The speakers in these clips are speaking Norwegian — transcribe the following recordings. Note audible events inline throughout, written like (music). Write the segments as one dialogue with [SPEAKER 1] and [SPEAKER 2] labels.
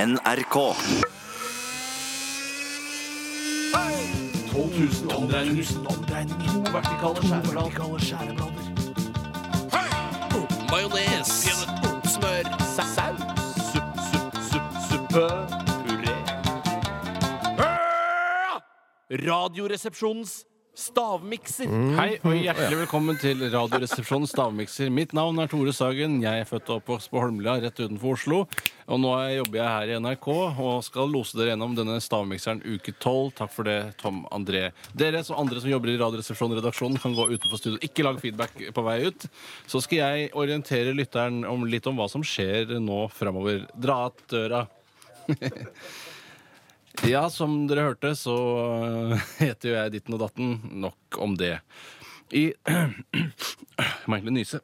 [SPEAKER 1] NRK.
[SPEAKER 2] 12 000 omdreininger. To vertikale skjæreblader. Majones. Smør. Saus. Supp, supp, supp, suppe. Puré. Radioresepsjonens stavmikser.
[SPEAKER 3] Hei og hjertelig velkommen til Radioresepsjonens stavmikser. Mitt navn er Tore Sagen. Jeg er født og oppvokst på Holmlia rett utenfor Oslo. Og nå er- jobber jeg her i NRK og skal lose dere gjennom denne stavmikseren uke tolv. Takk for det, Tom André. Dere som andre som jobber i Radioresepsjonen-redaksjonen kan gå utenfor studio. Ikke lag feedback på vei ut. Så skal jeg orientere lytteren om litt om hva som skjer nå framover. Dra att døra. Ja, som dere hørte, så øh, (laughs) heter jo jeg Ditten og Datten. Nok om det. I (clears throat) Jeg må egentlig nyse.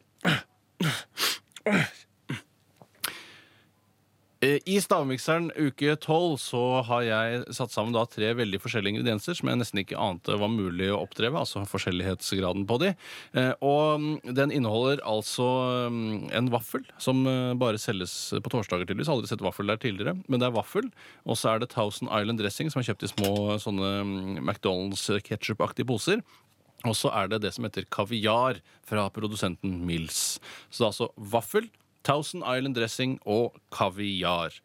[SPEAKER 3] Eh, I Stavmikseren uke 12 så har jeg satt sammen da tre veldig forskjellige ingredienser som jeg nesten ikke ante var mulig å oppdreve, altså forskjellighetsgraden på de. Eh, Og mm, den inneholder altså mm, en vaffel som eh, bare selges på torsdager tydeligvis. Aldri sett vaffel der tidligere, men det er vaffel. Og så er det Thousand Island dressing som er kjøpt i små eh, sånne mm, McDonald's ketchup-aktige poser. Og så er det det som heter kaviar fra produsenten Mills. Så det er altså vaffel, Thousand Island dressing og kaviar.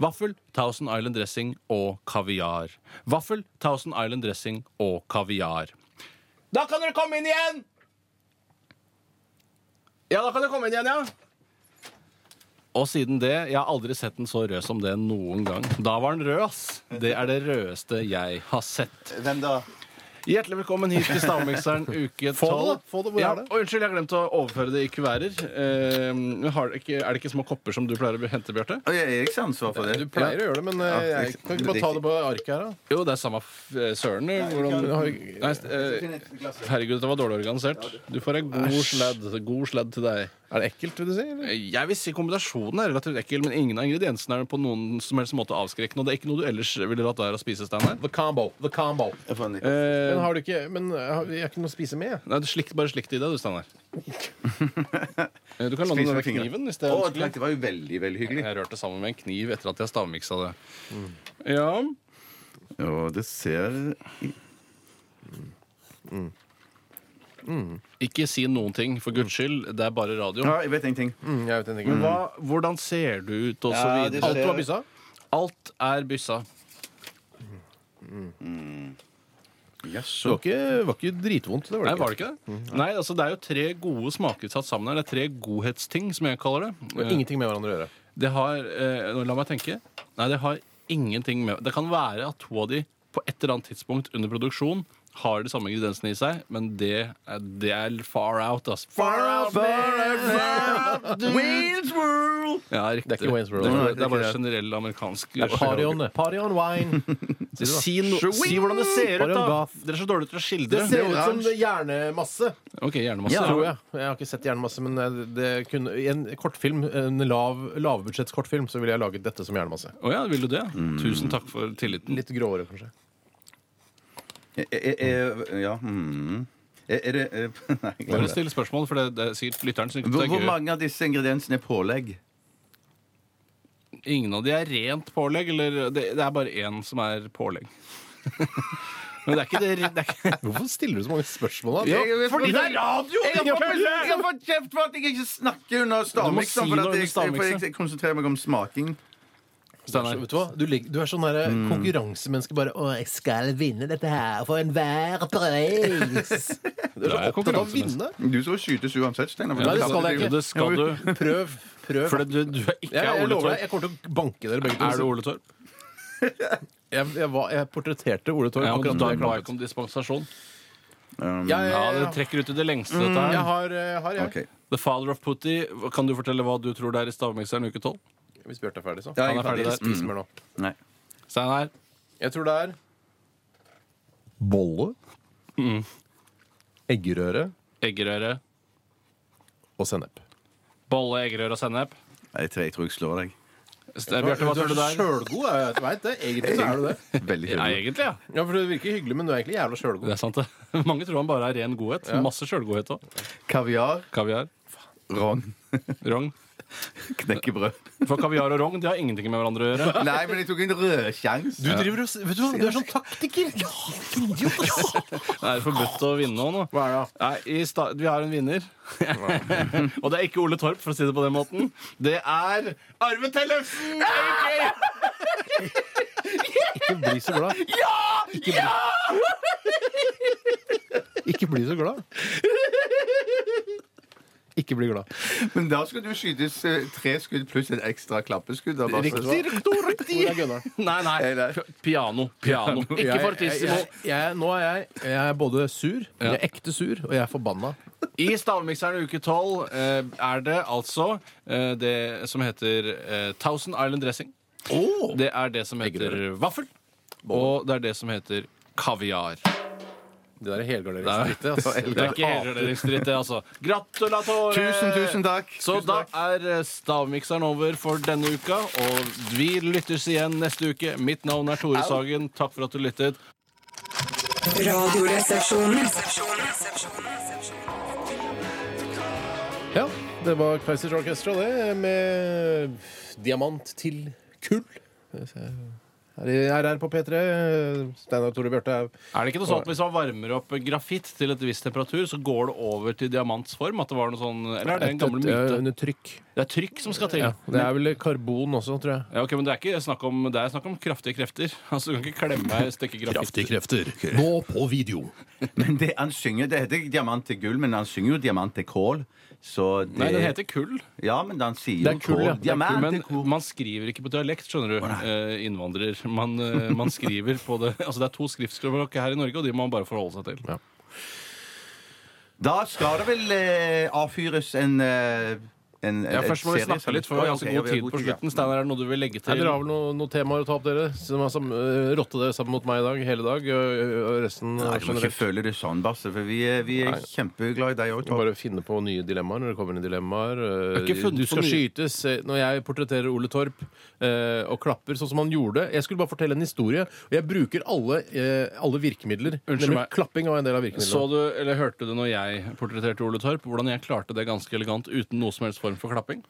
[SPEAKER 3] Vaffel, Thousand Island dressing og kaviar. Vaffel, Thousand Island dressing og kaviar. Da kan dere komme inn igjen! Ja, da kan dere komme inn igjen, ja. Og siden det, jeg har aldri sett den så rød som det noen gang. Da var den rød, ass. Det er det rødeste jeg har sett.
[SPEAKER 4] Hvem da?
[SPEAKER 3] Hjertelig velkommen hit til
[SPEAKER 4] (laughs)
[SPEAKER 3] Stavmikseren uke
[SPEAKER 4] det,
[SPEAKER 3] 12.
[SPEAKER 4] da. Få det. Hvor
[SPEAKER 3] ja,
[SPEAKER 4] er det?
[SPEAKER 3] og Unnskyld, jeg har glemt å overføre det i kuverter. Eh, har det ikke, er det ikke små kopper som du pleier å hente, Bjarte?
[SPEAKER 4] Og jeg er Eriks ansvar for det.
[SPEAKER 5] Du pleier å gjøre det, men eh, jeg kan ikke bare ta det på arket her, da.
[SPEAKER 3] Jo, det er samme f- eh, søren. du. Hvordan,
[SPEAKER 5] har-
[SPEAKER 3] nei, st- eh, herregud, dette var dårlig organisert. Du får en god sladd. God sladd til deg.
[SPEAKER 5] Er det ekkelt, vil du si? Eller?
[SPEAKER 3] Eh, Jeg vil si Kombinasjonen er relativt ekkel, men ingen av ingrediensene er på noen som helst måte avskrekkende. Og det er ikke noe du ellers ville latt være å spise, Steinar.
[SPEAKER 5] The combo. The combo.
[SPEAKER 4] Jeg får en liten-
[SPEAKER 3] Eh,
[SPEAKER 5] Men har du ikke Men eh, har, jeg har ikke noe å spise med.
[SPEAKER 3] nei, slikt, bare slikt i det, du,
[SPEAKER 4] (laughs)
[SPEAKER 3] Steinar. Eh, Du kan låne
[SPEAKER 4] Spis
[SPEAKER 3] denne
[SPEAKER 4] med fingrene.
[SPEAKER 3] kniven. hvis det er
[SPEAKER 4] Å,
[SPEAKER 3] ønskelig.
[SPEAKER 4] det var jo veldig, veldig hyggelig.
[SPEAKER 3] Jeg rørte sammen med en kniv etter at jeg stavmiksa det. Ja,
[SPEAKER 4] Å, det ser
[SPEAKER 3] Ikke si noen ting, for guds skyld. Det er bare radio.
[SPEAKER 4] Ja, jeg vet ingenting.
[SPEAKER 5] Mm, jeg vet Mm. ingenting.
[SPEAKER 3] Hva, hvordan ser du ut, og så
[SPEAKER 4] Ja, det
[SPEAKER 3] videre.
[SPEAKER 5] Alt du har byssa?
[SPEAKER 3] Alt er byssa.
[SPEAKER 5] Det var ikke, var ikke dritvondt. Det var
[SPEAKER 3] Nei,
[SPEAKER 5] det ikke.
[SPEAKER 3] var det ikke det?
[SPEAKER 4] Mm.
[SPEAKER 3] Nei, altså Det er jo tre gode smaker satt sammen her. Det er tre godhetsting, som jeg kaller det.
[SPEAKER 5] Det har Ingenting med hverandre å gjøre.
[SPEAKER 3] Det har eh, nå La meg tenke. Nei, det har ingenting med Det kan være at to av de på et eller annet tidspunkt under produksjon har de samme ingrediensene i seg, men det, er- det er far out, ass. Far out, Ja, riktig.
[SPEAKER 5] Det er ikke Wayne's World.
[SPEAKER 3] Det er,
[SPEAKER 4] Nei,
[SPEAKER 3] bare-
[SPEAKER 4] det er
[SPEAKER 3] det er bare
[SPEAKER 4] ikke
[SPEAKER 3] generell amerikansk
[SPEAKER 5] (laughs) Party on, party on (laughs) wine.
[SPEAKER 3] Si, no, si hvordan det ser ut,
[SPEAKER 5] Party on
[SPEAKER 3] da!
[SPEAKER 5] gaff.
[SPEAKER 3] Dere er så dårlige til å skildre.
[SPEAKER 5] Det ser ut som
[SPEAKER 4] oransje.
[SPEAKER 5] hjernemasse,
[SPEAKER 3] Ok, gjerne masse.
[SPEAKER 5] tror jeg. Jeg har ikke sett hjernemasse, men eh, det kunne, i en kortfilm, en lav, lavbudsjetts kortfilm, så ville jeg laget dette som hjernemasse.
[SPEAKER 3] Å ja, vil du det? Tusen takk for tilliten.
[SPEAKER 5] Litt gråere, kanskje.
[SPEAKER 4] Jeg- jeg- jeg- Ja. mm. Er er det eh, (laughs) Nei. glem
[SPEAKER 3] Bare
[SPEAKER 4] det.
[SPEAKER 3] still spørsmål, for det, det er sikkert lytteren som
[SPEAKER 4] Hvor,
[SPEAKER 3] ikke
[SPEAKER 4] hvor
[SPEAKER 3] tenker
[SPEAKER 4] mange av disse ingrediensene er pålegg?
[SPEAKER 3] Ingen av de er rent pålegg, eller det, det er bare én som er pålegg. (laughs) Men det er ikke det, det er
[SPEAKER 5] (laughs)
[SPEAKER 3] ikke,
[SPEAKER 5] Hvorfor stiller du så mange spørsmål, da?
[SPEAKER 4] Jeg- jeg-
[SPEAKER 5] fordi det er radio!
[SPEAKER 4] Jeg har fått-
[SPEAKER 5] Ingefjell!
[SPEAKER 4] jeg har fått kjeft for at jeg ikke snakker under
[SPEAKER 3] si
[SPEAKER 4] stavmikseren.
[SPEAKER 3] noe
[SPEAKER 4] For
[SPEAKER 3] under
[SPEAKER 4] at jeg, for jeg,
[SPEAKER 3] stavmikseren.
[SPEAKER 4] jeg konsentrerer meg om smaking.
[SPEAKER 3] Steinar.
[SPEAKER 5] Vet du hva? Du, ligger- du er sånn der
[SPEAKER 3] Mm.
[SPEAKER 5] konkurransemenneske bare 'Å, jeg skal vinne dette her for enhver
[SPEAKER 3] (laughs)
[SPEAKER 5] pris'. Du er
[SPEAKER 3] Du er sånn
[SPEAKER 5] så opptatt av å vinne.
[SPEAKER 4] Du skal skytes uansett, Steinar.
[SPEAKER 5] Nei, det skal jeg
[SPEAKER 3] Jo,
[SPEAKER 5] ikke.
[SPEAKER 3] det skal du.
[SPEAKER 5] Prøv. Prøv.
[SPEAKER 3] For det, du, du er ikke
[SPEAKER 5] jeg, jeg
[SPEAKER 3] Ole
[SPEAKER 5] lover deg,
[SPEAKER 3] Torp.
[SPEAKER 5] jeg kommer til å banke dere begge to.
[SPEAKER 3] Er du Ole Torp?
[SPEAKER 5] Jeg, jeg, var, jeg portretterte Ole Torp.
[SPEAKER 3] Ja, men
[SPEAKER 5] akkurat
[SPEAKER 3] da
[SPEAKER 5] da jeg
[SPEAKER 3] ba
[SPEAKER 5] klarer
[SPEAKER 3] jeg ikke om dispensasjon.
[SPEAKER 5] Jeg, jeg,
[SPEAKER 3] Ja, det
[SPEAKER 5] jeg,
[SPEAKER 3] trekker ut i det lengste, dette her.
[SPEAKER 5] har, Mm, jeg har jeg.
[SPEAKER 4] Ok.
[SPEAKER 3] The Father of Putty. Kan du fortelle hva du tror det er i Stavmikseren uke 12?
[SPEAKER 5] Hvis Bjarte er ferdig, så.
[SPEAKER 4] Ja,
[SPEAKER 3] Han er ferdig Mm. der.
[SPEAKER 5] Jeg spiser mer nå.
[SPEAKER 4] Nei.
[SPEAKER 3] Steinar.
[SPEAKER 5] Jeg tror det er bolle,
[SPEAKER 3] Mm.
[SPEAKER 5] eggerøre
[SPEAKER 3] Eggerøre.
[SPEAKER 5] og sennep.
[SPEAKER 3] Bolle, eggerøre og sennep.
[SPEAKER 4] Jeg tror jeg, tror jeg slår
[SPEAKER 3] (laughs)
[SPEAKER 4] deg.
[SPEAKER 3] Ste- Bjarte, hva tror du det er?
[SPEAKER 5] sjølgod. Jeg vet det. Egentlig så er du det.
[SPEAKER 4] Veldig
[SPEAKER 3] Ja,
[SPEAKER 4] hyggelig.
[SPEAKER 3] egentlig, ja.
[SPEAKER 5] Ja, for Du virker hyggelig, men du er egentlig jævla sjølgod.
[SPEAKER 3] Det er sant, det. (laughs) Mange tror han bare er ren godhet. Masse sjølgodhet òg.
[SPEAKER 4] Kaviar,
[SPEAKER 3] Kaviar.
[SPEAKER 4] rogn,
[SPEAKER 3] Rogn. (laughs)
[SPEAKER 4] Knekkebrød.
[SPEAKER 3] For kaviar og rogn de har ingenting med hverandre å gjøre.
[SPEAKER 4] Nei, men jeg tok en rødkjangs.
[SPEAKER 5] Du driver og s- Vet du hva, du er sånn taktiker!
[SPEAKER 3] Det er forbudt å vinne nå. nå.
[SPEAKER 5] Hva er det?
[SPEAKER 3] Nei, i sta vi har en vinner. (laughs) og det er ikke Ole Torp, for å si det på den måten. Det er Arve Tellefsen! AK!
[SPEAKER 5] Ikke bli så glad. Ja! Ikke bli, ikke bli så glad. Ikke bli glad.
[SPEAKER 4] Men da skal du skytes eh, tre skudd pluss et ekstra klappeskudd. da, bare så-
[SPEAKER 5] Hvor er Gunnar?
[SPEAKER 3] Nei,
[SPEAKER 4] Nei, nei.
[SPEAKER 3] nei. Piano. Piano. Ikke fortissimo.
[SPEAKER 5] Jeg, jeg, jeg, nå er jeg, jeg er både sur, jeg er ekte sur, og jeg er forbanna.
[SPEAKER 3] I Stavmikseren uke 12 eh, er det altså eh, det som heter eh, Thousand Island Dressing. Det er det som heter vaffel. Og det er det som heter kaviar.
[SPEAKER 5] Det der er helgarderingsdrittet. Altså.
[SPEAKER 3] Det er ikke helgarderingsdritt, det, altså. Gratulatore!
[SPEAKER 4] Tusen, tusen takk.
[SPEAKER 3] Så
[SPEAKER 4] Tusen
[SPEAKER 3] da
[SPEAKER 4] takk.
[SPEAKER 3] er eh, Stavmikseren over for denne uka, og vi lyttes igjen neste uke. Mitt navn er Tore Sagen. Takk for at du lyttet.
[SPEAKER 1] Radioresepsjonen.
[SPEAKER 5] Ja, det var Kveisters Orchestra, det, med diamant til kull. Her i RR på P3. Steinar Tore Bjarte er
[SPEAKER 3] Er det ikke noe sånn at Hvis man varmer opp grafitt til et visst temperatur, så går det over til diamantsform? At det var noe sånn, Eller er det en gammel
[SPEAKER 5] Et- et-
[SPEAKER 3] myte?
[SPEAKER 5] Under trykk.
[SPEAKER 3] Det er trykk som skal til.
[SPEAKER 5] Ja,
[SPEAKER 3] Ja,
[SPEAKER 5] det er vel karbon også, tror jeg.
[SPEAKER 3] ok, men det er ikke snakk om, det er snakk om kraftige krefter. (laughs) Altså, Du kan ikke klemme ei stykke grafitt.
[SPEAKER 5] krefter. Nå på video.
[SPEAKER 4] Men det, han synger, det heter ikke diamant til gull, men han synger jo diamant til kål. Så det,
[SPEAKER 3] Nei, den heter kull.
[SPEAKER 4] Ja, men han sier
[SPEAKER 5] Det
[SPEAKER 4] jo
[SPEAKER 5] er kull, ja.
[SPEAKER 4] kål. Diamant
[SPEAKER 3] Men
[SPEAKER 4] til kål.
[SPEAKER 3] man skriver ikke på dialekt, skjønner du. eh, innvandrer. Man, eh, man skriver på det (laughs) Altså, det er to skriftspråk her i Norge, og de må man bare forholde seg til.
[SPEAKER 4] Da skal det vel eh, avfyres en, eh, en
[SPEAKER 3] Ja, Først må vi
[SPEAKER 4] serie
[SPEAKER 3] snakke
[SPEAKER 4] som-
[SPEAKER 3] litt, for vi har
[SPEAKER 4] Ja, ok,
[SPEAKER 3] så god
[SPEAKER 4] ja, vi
[SPEAKER 3] tid
[SPEAKER 4] har
[SPEAKER 3] på
[SPEAKER 4] ja.
[SPEAKER 3] slutten. Steinar, er det noe du vil legge
[SPEAKER 5] Ja,
[SPEAKER 3] til?
[SPEAKER 5] dere har vel noen noe temaer å ta opp, dere? Som har sam øh, rotte dere sammen mot meg i dag, hele dag. Og, og resten
[SPEAKER 4] Nei, du
[SPEAKER 5] øh,
[SPEAKER 4] må ikke
[SPEAKER 5] generelt.
[SPEAKER 4] føle det sånn, Basse, for vi er, vi er
[SPEAKER 5] Nei.
[SPEAKER 4] kjempeglad i deg òg.
[SPEAKER 5] Bare finne på nye dilemmaer når det kommer inn dilemmaer. øh,
[SPEAKER 3] Jeg har ikke funnet
[SPEAKER 5] Du skal
[SPEAKER 3] på nye-
[SPEAKER 5] skytes. eh, Når jeg portretterer Ole Torp eh, og klapper sånn som han gjorde Jeg skulle bare fortelle en historie, og jeg bruker alle, eh, alle virkemidler.
[SPEAKER 3] Unnskyld
[SPEAKER 5] Nemlig
[SPEAKER 3] meg.
[SPEAKER 5] Klapping var en del av virkemidlene.
[SPEAKER 3] Så du, eller Hørte du når jeg portretterte Ole Torp, hvordan jeg klarte det ganske elegant uten noe som helst form for klapping?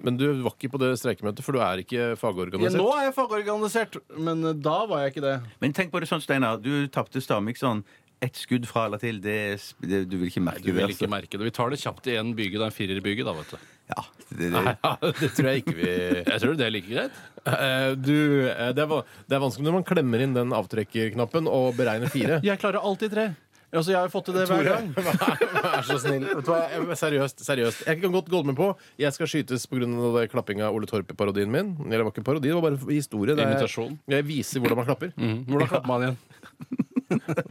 [SPEAKER 5] Men du var ikke på det streikemøtet, for du er ikke fagorganisert.
[SPEAKER 3] nå er jeg fagorganisert, men eh, da var jeg ikke det.
[SPEAKER 4] Men tenk på det sånn, Steinar. Du tapte Stamikson. Ett skudd fra eller til, det, er sp- det Du vil ikke merke
[SPEAKER 3] Du vil
[SPEAKER 4] det. altså.
[SPEAKER 3] ikke merke det. Vi tar det kjapt i en byge. Det er en firerbyge, da, vet du.
[SPEAKER 4] Ja, det, det.
[SPEAKER 5] (laughs) Ja, det tror jeg ikke vi (laughs)
[SPEAKER 3] Jeg tror det er like greit.
[SPEAKER 5] Eh, du, eh, det, er, va- det er vanskelig når man klemmer inn den avtrekkerknappen og beregner fire.
[SPEAKER 3] Jeg klarer alltid tre. Altså, jeg har jo fått til det hver gang.
[SPEAKER 5] (laughs) Vær så snill. Vet du hva? Jeg- Seriøst. seriøst Jeg kan godt gå med på jeg skal skytes pga. klappinga av Ole Torp-parodien min. Eller det var ikke parodi, det var bare historie. Det er-
[SPEAKER 3] Imitasjon.
[SPEAKER 5] Jeg viser hvordan man klapper.
[SPEAKER 3] Hvordan klapper man igjen?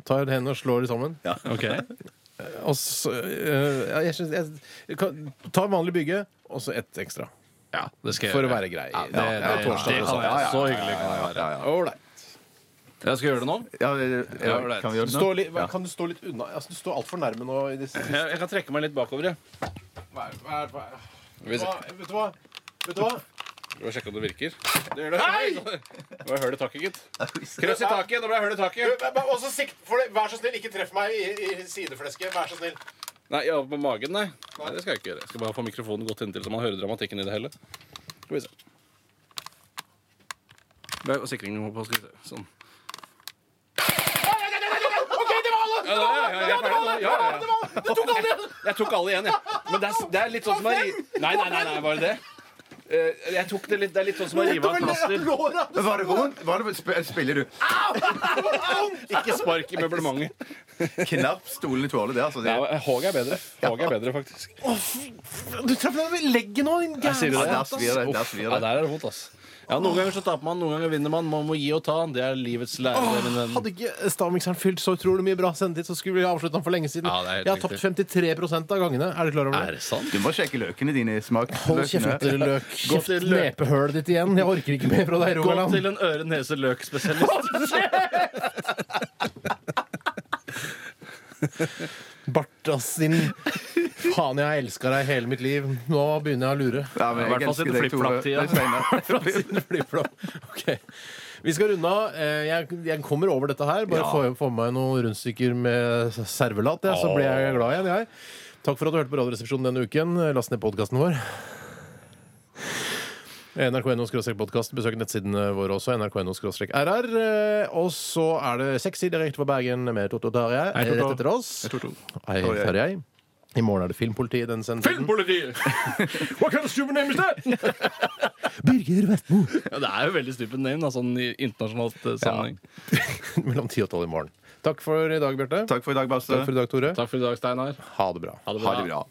[SPEAKER 5] Tar hendene og slår de sammen.
[SPEAKER 3] (laughs) Ok.
[SPEAKER 5] Og så, eh, ja, jeg synes, jeg, kan, ta en vanlig bygge, og så ett ekstra.
[SPEAKER 3] Ja, det skal jeg
[SPEAKER 5] For å
[SPEAKER 3] gjøre.
[SPEAKER 5] være grei.
[SPEAKER 3] Ja, det, det, det,
[SPEAKER 5] er torsdag,
[SPEAKER 3] kan
[SPEAKER 5] altså.
[SPEAKER 3] jeg. Så hyggelig kan jeg være.
[SPEAKER 5] Ålreit.
[SPEAKER 3] Jeg skal gjøre det nå.
[SPEAKER 4] Ja, eh,
[SPEAKER 3] Ja,
[SPEAKER 4] ja,
[SPEAKER 3] ålreit.
[SPEAKER 4] kan vi gjøre det nå?
[SPEAKER 5] Stå litt- hva- Kan du stå litt unna? Altså, du står altfor nærme nå. I disse,
[SPEAKER 3] Jeg, jeg kan trekke meg litt bakover. jeg.
[SPEAKER 5] hva, er- hva, er- hva, er-
[SPEAKER 3] Skal vi se.
[SPEAKER 5] hva, vet du hva? Vet du hva?
[SPEAKER 3] Skal vi sjekke om det virker? Det gjør det. Hei! Det var hull i taket, gitt. Krøss i taket. Nå ble det hull i taket.
[SPEAKER 5] Og så sikt, for det, Vær så snill, ikke treff meg i, i sideflesket. Vær så snill.
[SPEAKER 3] Nei, jeg var på magen, nei. nei. Det skal jeg ikke gjøre. Jeg skal bare få mikrofonen godt inntil, så man hører dramatikken i det hele. Skal vi se. Det er sikringen må på, skal vi se. Sånn. Ja, ja, ja, jeg er ferdig nå. Ja, ja, ja. Jeg tok alle igjen, jeg. Men det er, det er litt sånn som å rive Nei, nei, nei, nei, var det det? Eh, Jeg tok det litt, det er litt sånn som å rive av et plaster.
[SPEAKER 4] Var det vondt? Var det, sp- spiller du
[SPEAKER 3] Ikke spark i møblementet.
[SPEAKER 4] knapt stolene tåler det? Altså.
[SPEAKER 3] Nei,
[SPEAKER 4] det
[SPEAKER 3] Håg er bedre. Håg er bedre, faktisk.
[SPEAKER 5] Du traff meg i leggen nå, din
[SPEAKER 3] Jeg sier
[SPEAKER 5] gæren.
[SPEAKER 4] ja,
[SPEAKER 3] det,
[SPEAKER 4] der svir det. Der
[SPEAKER 3] Uff,
[SPEAKER 4] svir
[SPEAKER 3] ja,
[SPEAKER 4] det.
[SPEAKER 3] der er det vondt, ass. Ja, Noen ganger så taper man, noen ganger vinner man. Man må gi og ta. Det er livets lære. min venn.
[SPEAKER 5] Hadde ikke eh, stavmikseren fylt så utrolig mye bra sendetid, så skulle vi avslutta den for lenge siden.
[SPEAKER 3] Ja, det er helt
[SPEAKER 5] jeg har tapt 53 av gangene. Er du klar over
[SPEAKER 3] Er
[SPEAKER 5] det?
[SPEAKER 3] det sant?
[SPEAKER 4] Du må sjekke løkene dine. Smak
[SPEAKER 5] Hold kjeft, løk.
[SPEAKER 3] Gå til
[SPEAKER 5] Kjeft
[SPEAKER 3] løk.
[SPEAKER 5] nepehølet ditt igjen. Jeg orker ikke mer fra deg,
[SPEAKER 3] Gå
[SPEAKER 5] Rogaland.
[SPEAKER 3] til en
[SPEAKER 4] (laughs)
[SPEAKER 3] øre-nese-løk-spesialist.
[SPEAKER 5] Bartas din Faen, jeg har elska deg hele mitt liv. Nå begynner jeg å lure.
[SPEAKER 4] Ja, men
[SPEAKER 3] I hvert fall
[SPEAKER 4] elsker
[SPEAKER 3] sitte
[SPEAKER 4] deg, Tore.
[SPEAKER 3] flip-flop-tida.
[SPEAKER 4] Det er Steinar.
[SPEAKER 5] Fra sine flyflom. Ok. Vi skal runde av. Eh, Jeg, jeg kommer over dette her. Bare få, få meg noen rundstykker med servelat, jeg, så blir jeg glad igjen. jeg. Takk for at du hørte på Radioresepsjonen denne uken. Last ned podkasten vår. NRK.no-podkast. Besøk nettsidene våre også. NRK.no-rr. Eh, Og så er det sexy direkte fra Bergen med Toto Tarjei
[SPEAKER 3] Hei, Toto.
[SPEAKER 5] rett etter oss.
[SPEAKER 3] Jeg tror to.
[SPEAKER 5] Hei, Tarjei. I morgen er det Filmpolitiet i denne sendingen.
[SPEAKER 4] (laughs)
[SPEAKER 5] What kind of stupid name is that? Birger Vestmo.
[SPEAKER 3] (laughs)
[SPEAKER 5] (laughs)
[SPEAKER 3] Ja, det er jo veldig stupid name, da, sånn i internasjonalt eh, sammenheng.
[SPEAKER 5] Mellom ti og tolv i morgen. Takk for i dag, Bjarte.
[SPEAKER 4] Takk for i dag, Basse.
[SPEAKER 5] Takk for i dag, Tore.
[SPEAKER 3] Takk for i dag, Steinar.
[SPEAKER 5] Ha det bra.
[SPEAKER 3] Ha det
[SPEAKER 4] Ha det bra.